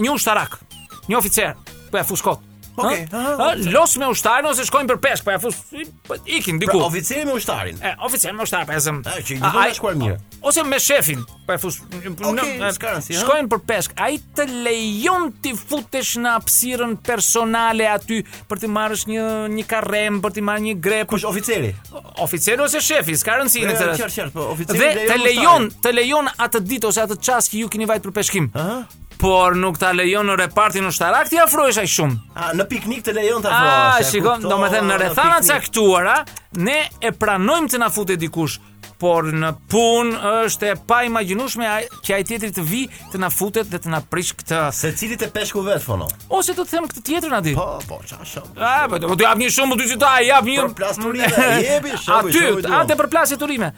[SPEAKER 3] një ushtarak, një oficer, po ja fus kot.
[SPEAKER 6] Okej,
[SPEAKER 3] Ha?
[SPEAKER 6] aha,
[SPEAKER 3] Ha, los me ushtarin ose shkojnë për peshk, po ja fus po ikin diku.
[SPEAKER 6] Pra oficeri me ushtarin.
[SPEAKER 3] E, oficer me ushtar, pa e zëm.
[SPEAKER 6] A, që
[SPEAKER 3] A,
[SPEAKER 6] i gjithmonë
[SPEAKER 3] ai-
[SPEAKER 6] ka shkuar mirë.
[SPEAKER 3] Ose me shefin, pa e fush...
[SPEAKER 6] Okej,
[SPEAKER 3] e,
[SPEAKER 6] s'ka rëndsi, ha?
[SPEAKER 3] Shkojnë për peshk, a i të lejon t'i futesh në apsirën personale aty për t'i marrësh një, një karrem, për t'i marrë një grep,
[SPEAKER 6] Kush oficeri?
[SPEAKER 3] oficeri ose shefi, s'ka rëndsi
[SPEAKER 6] E,
[SPEAKER 3] në
[SPEAKER 6] qartë, qartë, po, oficeri
[SPEAKER 3] Dhe të
[SPEAKER 6] lejon ushtarin.
[SPEAKER 3] lejon, të lejon atë ditë ose atë çast që ju keni vajt për peshkim.
[SPEAKER 6] Aha.
[SPEAKER 3] Por nuk ta lejon në repartin ushtarak ti afrohesh aq shumë.
[SPEAKER 6] A në piknik të lejon ta
[SPEAKER 3] A,
[SPEAKER 6] afrohesh. Pra, e
[SPEAKER 3] shikon,
[SPEAKER 6] kuptova,
[SPEAKER 3] do me thënë, në rethana
[SPEAKER 6] piknik.
[SPEAKER 3] caktuara, ne e pranojmë të na fute dikush, por në punë është e pa imaginushme ai- që ai tjetri të vi të na futet dhe të na prish këtë.
[SPEAKER 6] Se cilit e peshku vet fono.
[SPEAKER 3] Ose do të them këtë tjetër na di.
[SPEAKER 6] Po, po, çasha.
[SPEAKER 3] A, po do të jap një shumë ty që ta jap një
[SPEAKER 6] Për plasturime, jepi, shoku, shoku
[SPEAKER 3] Aty,
[SPEAKER 6] i duam.
[SPEAKER 3] atë për plasje turime.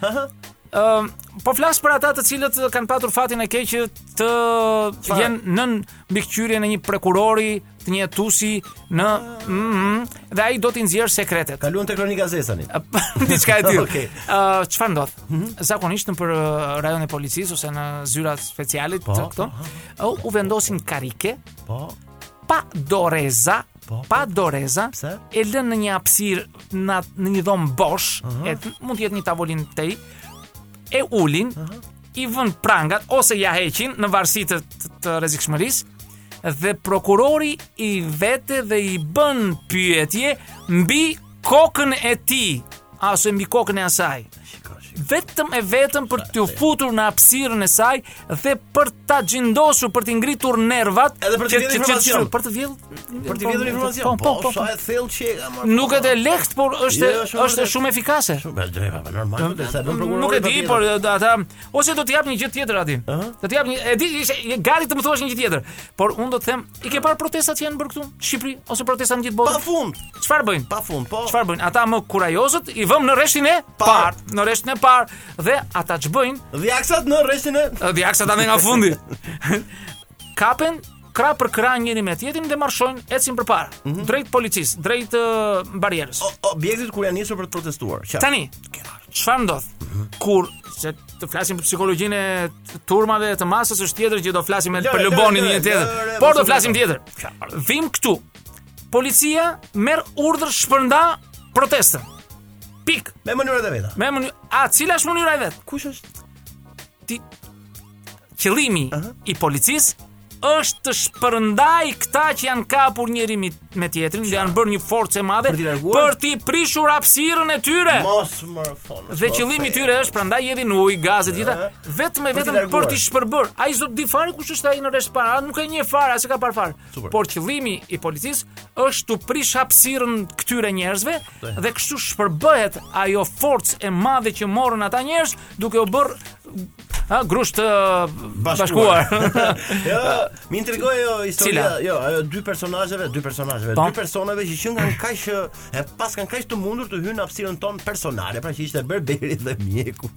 [SPEAKER 3] Ëm, po flas për ata të cilët kanë patur fatin e keq që të jenë nën mbikëqyrjen e një prokurori, të një hetusi në Mhm, dhe ai do t'i nxjerr sekretet.
[SPEAKER 6] Kaluan te kronika zesani.
[SPEAKER 3] diçka e tillë. Okej.
[SPEAKER 6] Okej. Mhm.
[SPEAKER 3] çfarë ndodh? Zakonisht në për uh, rajon e policisë ose në zyrat specialit
[SPEAKER 6] Po,
[SPEAKER 3] të këto, u- u vendosin karike
[SPEAKER 6] Po,
[SPEAKER 3] pa doreza,
[SPEAKER 6] Po,
[SPEAKER 3] pa doreza,
[SPEAKER 6] Pse?
[SPEAKER 3] e lënë në një hapësirë në, at- në një dhomë bosh, e t- mund të jetë një tavolinë tej, e ulin, i vën prangat ose ja heqin në varësi të, të, të rrezikshmërisë dhe prokurori i vete dhe i bën pyetje mbi kokën e tij ose mbi kokën e asaj
[SPEAKER 6] shiko, shiko.
[SPEAKER 3] vetëm e vetëm për t'ju futur në hapësirën e saj dhe për ta gjindosur, për t'i ngritur nervat
[SPEAKER 6] Edhe për t'i
[SPEAKER 3] që- që-
[SPEAKER 6] vjedhur
[SPEAKER 3] që-
[SPEAKER 6] informacion.
[SPEAKER 3] që- për të vjedhur
[SPEAKER 6] Për të vjedhur informacion.
[SPEAKER 3] Po, po, po.
[SPEAKER 6] sa
[SPEAKER 3] po.
[SPEAKER 6] e thellë që e ka marrë.
[SPEAKER 3] Nuk e lehtë, por është
[SPEAKER 6] Jo, shumë
[SPEAKER 3] është
[SPEAKER 6] vërtet.
[SPEAKER 3] shumë efikase.
[SPEAKER 6] Po, drejta, po, normal, do të sa bën prokurori.
[SPEAKER 3] Nuk e
[SPEAKER 6] pa
[SPEAKER 3] di,
[SPEAKER 6] tjetër.
[SPEAKER 3] por e, ata ose do të jap një gjë tjetër aty. Do të jap një e di ishte je gati të më thuash një gjë tjetër. Por unë do të them, i ke parë protestat që janë bërë këtu në Shqipëri ose protesta në gjithë
[SPEAKER 6] pa
[SPEAKER 3] botën?
[SPEAKER 6] fund,
[SPEAKER 3] Çfarë bëjnë?
[SPEAKER 6] pa fund, po.
[SPEAKER 3] Çfarë bëjnë? Ata më kurajozët i vëmë në rreshtin e
[SPEAKER 6] Parë.
[SPEAKER 3] parë, në rreshtin e parë dhe ata ç'bëjnë?
[SPEAKER 6] Dhe aksat në rreshtin e
[SPEAKER 3] Dhe jaksa ta me nga fundi Kapen krah për krah njëri me tjetrin dhe marshojnë, ecin përpara,
[SPEAKER 6] Mhm.
[SPEAKER 3] drejt policisë, drejt ë, barierës.
[SPEAKER 6] O- Objektet kur janë nisur për të protestuar. Qartë.
[SPEAKER 3] Tani, çfarë ndodh? Kur se të flasim për psikologjinë e t- turmave të masës është tjetër që do flasim me
[SPEAKER 6] Lëre,
[SPEAKER 3] për Lubonin
[SPEAKER 6] lëre,
[SPEAKER 3] një tjetër.
[SPEAKER 6] lëre,
[SPEAKER 3] Por
[SPEAKER 6] mos
[SPEAKER 3] do
[SPEAKER 6] u
[SPEAKER 3] flasim
[SPEAKER 6] lëre.
[SPEAKER 3] tjetër. Vim këtu. Policia merr urdhër shpërnda protestën. Pik.
[SPEAKER 6] Me mënyrat e veta.
[SPEAKER 3] Me mënyrë, a cila është mënyra e vet?
[SPEAKER 6] Kush është?
[SPEAKER 3] Ti qëllimi i policisë është të shpërndaj këta që janë kapur njëri mi- me tjetrin, dhe janë bërë një forcë e madhe
[SPEAKER 6] Për t'i larguar?
[SPEAKER 3] për t'i prishur hapësirën e tyre.
[SPEAKER 6] Mos më thonë.
[SPEAKER 3] Dhe qëllimi i tyre është prandaj jedhin ujë, gazet gjitha, vetëm e
[SPEAKER 6] Për t'i
[SPEAKER 3] vetëm për
[SPEAKER 6] larguar.
[SPEAKER 3] t'i shpërbër. Ai s'do të di fare kush është ai në rreshtpar, a nuk e njeh fare, as e ka parë fare.
[SPEAKER 6] Super.
[SPEAKER 3] Por qëllimi i policisë është të prish hapësirën këtyre njerëzve dhe kështu shpërbëhet ajo forcë e madhe që morën ata njerëz duke u bërë ha grush të bashkuar.
[SPEAKER 6] jo, më intrigoi jo historia,
[SPEAKER 3] Cila?
[SPEAKER 6] jo, ajo dy personazheve, dy personazheve,
[SPEAKER 3] Po.
[SPEAKER 6] dy personave që që kanë kaq e pas kanë kaq të mundur të hyjnë në hapësirën tonë personale, pra që ishte Berberi dhe mjeku.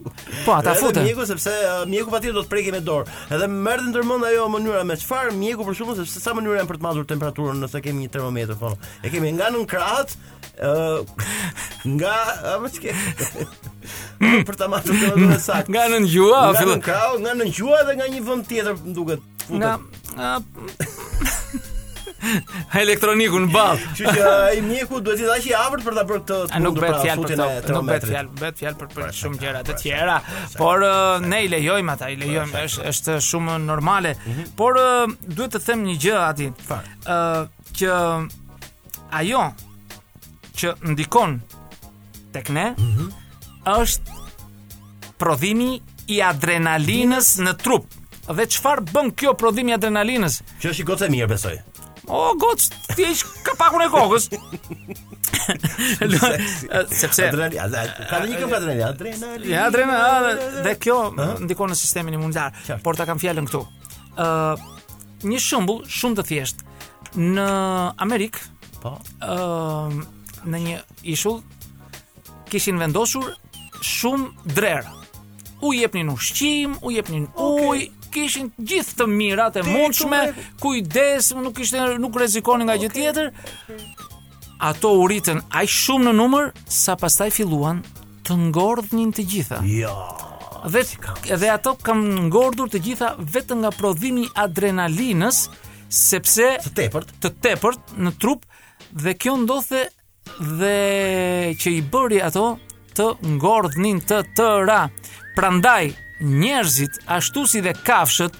[SPEAKER 3] Po, ata
[SPEAKER 6] Edhe
[SPEAKER 3] futën.
[SPEAKER 6] Mjeku sepse uh, mjeku patjetër do të prekej me dorë. Edhe më erdhi ndërmend ajo mënyra me çfarë mjeku për shkakun sepse sa mënyra janë për të matur temperaturën nëse kemi një termometër po. E kemi nga nën krahat, ë nga apo çka për ta matur temperaturën saktë.
[SPEAKER 3] Nga nën gjua,
[SPEAKER 6] nga
[SPEAKER 3] Ah, fillon-
[SPEAKER 6] nën krau, nga nën gjua dhe nga një vend tjetër më duket. futet.
[SPEAKER 3] Nga a, elektroniku në ballë.
[SPEAKER 6] Kështu që ai mjeku duhet të dashë i afërt për ta bërë këtë
[SPEAKER 3] A nuk
[SPEAKER 6] pra,
[SPEAKER 3] bëhet fjalë për
[SPEAKER 6] këtë
[SPEAKER 3] to, nuk bëhet fjalë, bëhet fjalë për, për shumë gjëra të tjera, por ë, ne i lejojmë ata, i lejojmë, është është shumë normale. Por ë, duhet të them një gjë aty.
[SPEAKER 6] Çfarë?
[SPEAKER 3] Ë që ajo që ndikon tek ne është prodhimi i adrenalinës në trup. Dhe çfarë bën kjo prodhimi i adrenalinës?
[SPEAKER 6] Që është i gocë e mirë besoj.
[SPEAKER 3] O, gocë, ti e ka pakun e kokës. Sepse
[SPEAKER 6] Adrenalina, adre- ka dhe një këngë adrenalina, adrenalina.
[SPEAKER 3] Ja, adrenalina dhe- dhe kjo ndikon në sistemin imunitar.
[SPEAKER 6] Qartë.
[SPEAKER 3] Por ta kam fjalën këtu. Ë, një shembull shumë të thjeshtë. Në Amerikë,
[SPEAKER 6] Po.
[SPEAKER 3] ë, në një ishull kishin vendosur shumë drerë. U jepnin ushqim, u jepnin ujë, kishin gjithë të mirat e mundshme, kujdes, nuk ishte nuk rrezikonin nga gjë tjetër. Ato u ritën aq shumë në numër sa pastaj filluan të ngordhnin të gjitha.
[SPEAKER 6] Jo.
[SPEAKER 3] Dhe edhe ato kam ngordur të gjitha vetëm nga prodhimi i adrenalinës, sepse
[SPEAKER 6] Të tepërt.
[SPEAKER 3] të tepërt në trup dhe kjo ndodhte dhe që i bëri ato të ngordhnin të tëra. Prandaj njerëzit ashtu si dhe kafshët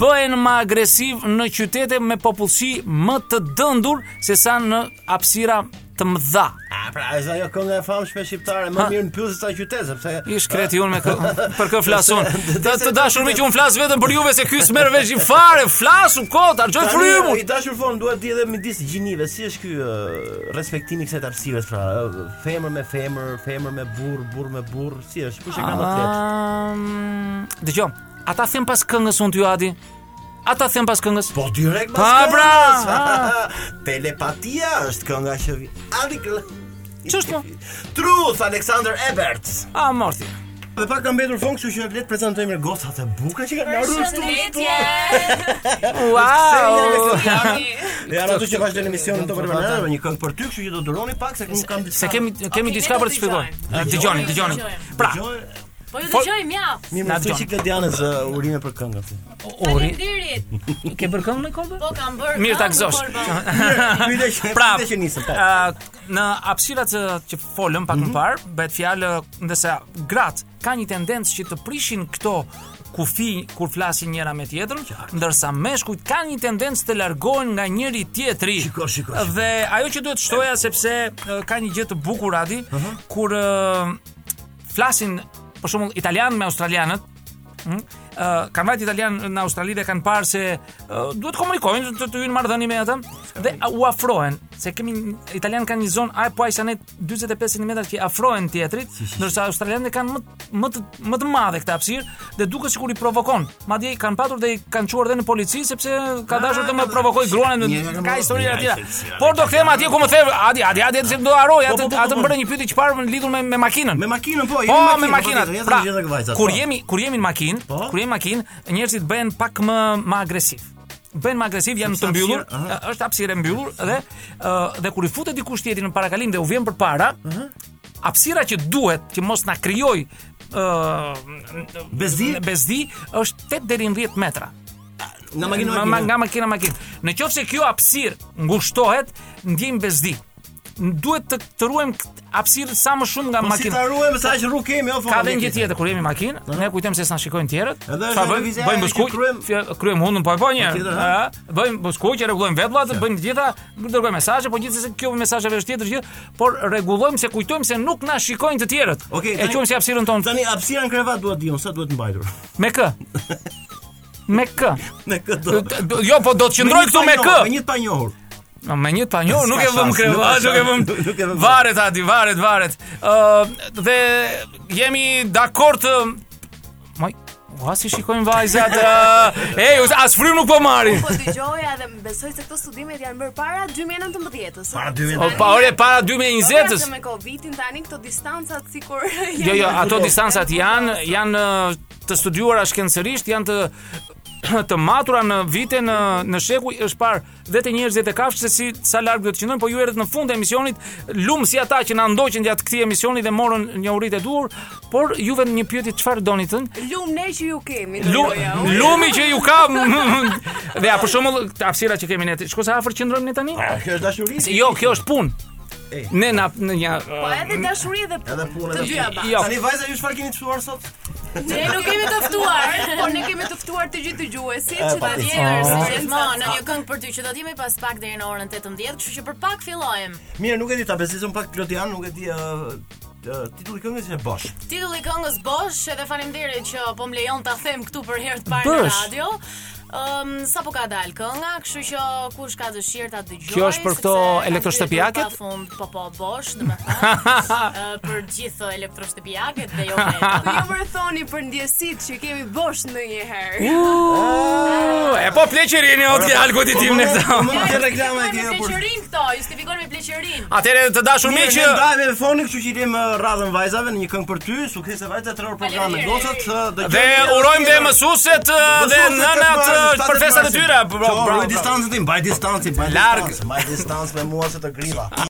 [SPEAKER 3] bëhen më agresiv në qytete me popullsi më të dëndur se sa në hapësira të mëdha.
[SPEAKER 6] A pra, është ajo kënga e famshme shqiptare, më
[SPEAKER 3] Ha.
[SPEAKER 6] mirë në pyllë se sa qytet, sepse
[SPEAKER 3] I shkreti unë me kë, për kë flasun.
[SPEAKER 6] Sepse-
[SPEAKER 3] Të, të dashur me që unë flas vetëm për juve se ky s'merr vesh i fare, flasu kot, argjoj
[SPEAKER 6] Tani,
[SPEAKER 3] frymën.
[SPEAKER 6] I dashur fon duhet di edhe midis gjinive, si është ky ë, respektimi i kësaj hapësirës pra, ë, femër me femër, femër me burr, burr me burr, si është? Kush e ka
[SPEAKER 3] Ah,
[SPEAKER 6] më tepër?
[SPEAKER 3] Um, Dëgjom, ata them pas këngës unë t'ju adi. Ata them pas këngës.
[SPEAKER 6] Po direkt
[SPEAKER 3] Pa,
[SPEAKER 6] pas
[SPEAKER 3] bra,
[SPEAKER 6] këngës.
[SPEAKER 3] ha.
[SPEAKER 6] Telepatia është kënga që vi. Ali
[SPEAKER 3] Ç'është mo?
[SPEAKER 6] Truth Alexander Ebert.
[SPEAKER 3] A morti.
[SPEAKER 6] Dhe pak ka mbetur fond, kështu që le të prezantojmë gocat e bukura që kanë ardhur në studio.
[SPEAKER 3] Wow.
[SPEAKER 6] Janë ato që vazhdojnë emisionin të përmendur me një këngë për ty, kështu që do duroni pak se nuk kam diçka.
[SPEAKER 3] Se kemi kemi
[SPEAKER 7] Okej,
[SPEAKER 3] diçka
[SPEAKER 7] ne do
[SPEAKER 3] për të shpjeguar.
[SPEAKER 7] dëgjojmë.
[SPEAKER 3] Dëgjoni, dëgjoni. Pra,
[SPEAKER 6] Gjoj,
[SPEAKER 7] Po ju dëgjojmë, ja.
[SPEAKER 6] mirë
[SPEAKER 3] Na
[SPEAKER 6] më thuaj
[SPEAKER 3] dëgjon.
[SPEAKER 6] çik Dianës uh, urime për këngën.
[SPEAKER 3] ori,
[SPEAKER 7] Faleminderit.
[SPEAKER 3] ke bërë këngë me kolbe?
[SPEAKER 7] Po kam bërë.
[SPEAKER 3] Mirë, ta
[SPEAKER 7] këngë,
[SPEAKER 3] gëzosh.
[SPEAKER 7] por, po.
[SPEAKER 6] Pyetja që
[SPEAKER 3] Pra,
[SPEAKER 6] pyetja që nisëm. po. Mhm.
[SPEAKER 3] ë, në hapësirat që, që folëm pak më parë, bëhet fjalë ndërsa gratë ka një tendencë që të prishin këto kufi kur flasin njëra me tjetrën, ndërsa meshkujt kanë një tendencë të largohen nga njëri tjetri.
[SPEAKER 6] Shiko, shiko, shiko.
[SPEAKER 3] Dhe ajo që duhet shtoja sepse ë, ka një gjë të bukur aty,
[SPEAKER 6] Mhm.
[SPEAKER 3] kur ë, flasin për shembull italian me australianët, Mm. Uh, kanë vajt italian në Australi dhe kanë parë se uh, duhet komunikojnë të të hynë marrëdhënie me ata dhe uh, u afrohen se kemi një- italian kanë një zonë aj po aj sa ne 45 cm që i afrohen tjetrit ndërsa australianët kanë më t- më të më të madhe këtë hapësirë dhe duket sikur i provokon madje i kanë patur dhe i kanë çuar dhe në polici sepse
[SPEAKER 6] Ah,
[SPEAKER 3] ka dashur të më provokoj gruan në-
[SPEAKER 6] Një-
[SPEAKER 3] ka histori
[SPEAKER 6] një-
[SPEAKER 3] atje
[SPEAKER 6] një-
[SPEAKER 3] por do kthem atje ku më the adi adi adi se do haroj atë
[SPEAKER 6] po, po,
[SPEAKER 3] atë
[SPEAKER 6] po.
[SPEAKER 3] më bëre një pyetje çfarë lidhur me me makinën
[SPEAKER 6] Me makinën po, jemi
[SPEAKER 3] Po, me
[SPEAKER 6] makinë,
[SPEAKER 3] makinat.
[SPEAKER 6] po, tjetër,
[SPEAKER 3] Pra,
[SPEAKER 6] jemi gjithë dhe vajzat,
[SPEAKER 3] kur
[SPEAKER 6] po.
[SPEAKER 3] jemi kur jemi në makinë,
[SPEAKER 6] Po?
[SPEAKER 3] kur jemi në makinë, njerëzit bëhen pak më më agresiv. bëhen më agresiv, janë
[SPEAKER 6] Është
[SPEAKER 3] të mbyllur,
[SPEAKER 6] hapësirë, aha.
[SPEAKER 3] ë, është hapësirë e mbyllur dhe ë, dhe kur i futet dikush tjetri në parakalim dhe u vjen përpara,
[SPEAKER 6] Mhm.
[SPEAKER 3] hapësira që duhet që mos na krijoj ë
[SPEAKER 6] Bezdi?
[SPEAKER 3] bezdi është 8 deri në 10 metra.
[SPEAKER 6] Nga makina
[SPEAKER 3] Ma- ma-
[SPEAKER 6] makina.
[SPEAKER 3] nga makina makinë. Në qoftë se kjo hapësirë ngushtohet, ndjejmë bezdi. Duhet të, të ruajmë këtë hapësirë sa më shumë nga
[SPEAKER 6] Po si
[SPEAKER 3] makina.
[SPEAKER 6] ta ruajmë sa që rrugë kemi, o
[SPEAKER 3] Ka dhe një gjë tjetër kur jemi në makinë, ne kujtojmë se s'na shikojnë tjerët.
[SPEAKER 6] Edhe është
[SPEAKER 3] Sa bëjmë?
[SPEAKER 6] televizia
[SPEAKER 3] Bëjmë
[SPEAKER 6] që
[SPEAKER 3] buskuq,
[SPEAKER 6] kryem-
[SPEAKER 3] fja- kryem hundën po e bëjmë. një herë.
[SPEAKER 6] Tjetër, ha?
[SPEAKER 3] Ë, Bëjmë buskuq, rregullojmë vetullat, bëjmë të gjitha, dërgojmë mesazhe, po gjithsesi kjo mesazhe vesh tjetër gjë, por rregullojmë se kujtojmë se nuk na shikojnë të tjerët.
[SPEAKER 6] Okej,
[SPEAKER 3] e
[SPEAKER 6] tani-
[SPEAKER 3] quajmë si hapësirën tonë
[SPEAKER 6] Tani hapësira në krevat duhet diun, sa duhet mbajtur.
[SPEAKER 3] me k. Me k.
[SPEAKER 6] Me këtë.
[SPEAKER 3] D- d- Jo, po do të qëndroj këtu me k.
[SPEAKER 6] Me një të panjohur.
[SPEAKER 3] No, me një panjo, nuk e
[SPEAKER 6] S'ka
[SPEAKER 3] vëm
[SPEAKER 6] shans,
[SPEAKER 3] krevat,
[SPEAKER 6] nuk
[SPEAKER 3] nuk
[SPEAKER 6] ka
[SPEAKER 3] e vëm.
[SPEAKER 6] shans, nuk e vëm.
[SPEAKER 3] Varet aty, varet, varet. Ë dhe jemi dakord të Moj, ua si shikojmë vajzat. ë, Ej, us- as frym nuk po marrin.
[SPEAKER 7] Po dëgjoja dhe më besoj se këto studimet janë bërë para 2019-s.
[SPEAKER 6] Para 2019.
[SPEAKER 3] O, pa ore para
[SPEAKER 7] Vetës
[SPEAKER 3] 2020-s.
[SPEAKER 7] me Covidin tani këto distancat sikur
[SPEAKER 3] Jo, jo,
[SPEAKER 7] janë-
[SPEAKER 3] ato distancat janë janë ë, të studiuara shkencërisht, janë të të matura në vite në në shekuj është parë dhe të njerëzit e kafshë se si sa larg do të qëndrojnë, po ju erdhët në fund e emisionit, lum si ata që na ndoqën gjatë këtij emisioni dhe morën një uritë e duhur, por juve një pyetje çfarë doni të thënë?
[SPEAKER 7] Lumë ne që ju kemi.
[SPEAKER 3] Lu,
[SPEAKER 7] dëgjoja Jo, unë.
[SPEAKER 3] lumi që ju ka dhe ja për shembull hapësira që kemi ne. Shko sa afër qëndrojmë ne
[SPEAKER 7] Ah,
[SPEAKER 3] tani?
[SPEAKER 6] A, Ah, Kjo është dashuri?
[SPEAKER 3] Se Jo, kjo është punë.
[SPEAKER 6] E.
[SPEAKER 3] Ne na në një
[SPEAKER 7] Po edhe dashuri dhe punë.
[SPEAKER 6] Edhe punë,
[SPEAKER 7] Të
[SPEAKER 6] edhe
[SPEAKER 7] dyja ba.
[SPEAKER 3] jo.
[SPEAKER 6] Tani vajza ju çfarë keni çuar sot?
[SPEAKER 7] Ne nuk kemi të ftuar, po ne kemi të ftuar të gjithë dëgjuesit që ta
[SPEAKER 6] patjetër.
[SPEAKER 7] djerë
[SPEAKER 8] Si
[SPEAKER 7] si
[SPEAKER 8] gjithmonë në një këngë për ty që do të jemi pas pak deri në orën 18, kështu që për pak fillojmë.
[SPEAKER 6] Mirë, nuk e di ta besizon pak pilotian, nuk e di ë, ë, titulli i këngës është Bosh.
[SPEAKER 8] Titulli i këngës Bosh, edhe faleminderit që po më lejon ta them këtu për herë të parë në
[SPEAKER 3] Bosh.
[SPEAKER 8] radio. Ëm sa po ka dalë kënga, kështu që kush ka dëshirë ta dëgjojë.
[SPEAKER 3] Kjo është për këto elektroshtëpiaket?
[SPEAKER 8] Pafund, po po Bosh, domethënë. ë, për gjithë elektroshtëpiaket dhe jo vetëm.
[SPEAKER 7] Po ju më thoni për ndjesit që kemi bosh ndonjëherë.
[SPEAKER 3] Uuu, e po pleqerini o të algotit tim në
[SPEAKER 6] Po,
[SPEAKER 3] këtë.
[SPEAKER 6] Mund të reklama e kemi
[SPEAKER 8] Me
[SPEAKER 6] për.
[SPEAKER 8] pleqërin këto, justifikojnë me pleqërin.
[SPEAKER 3] Atëre të dashur
[SPEAKER 6] Mirë,
[SPEAKER 3] miq
[SPEAKER 6] ne ndajmë me fonin, kështu që i lëm radhën vajzave në një këngë për ty, suksese vajza 3 orë programe
[SPEAKER 8] Faleminderit.
[SPEAKER 6] gosat, ë, dëgjojmë.
[SPEAKER 3] dhe urojmë dhe mësuset ë, dhe nënat ë, për festat e Pra, tyra. Bra- bra-
[SPEAKER 6] Ruaj distancën tim, mbaj distancë, mbaj
[SPEAKER 3] Larg.
[SPEAKER 6] distancë, mbaj distancë me mua se të griva.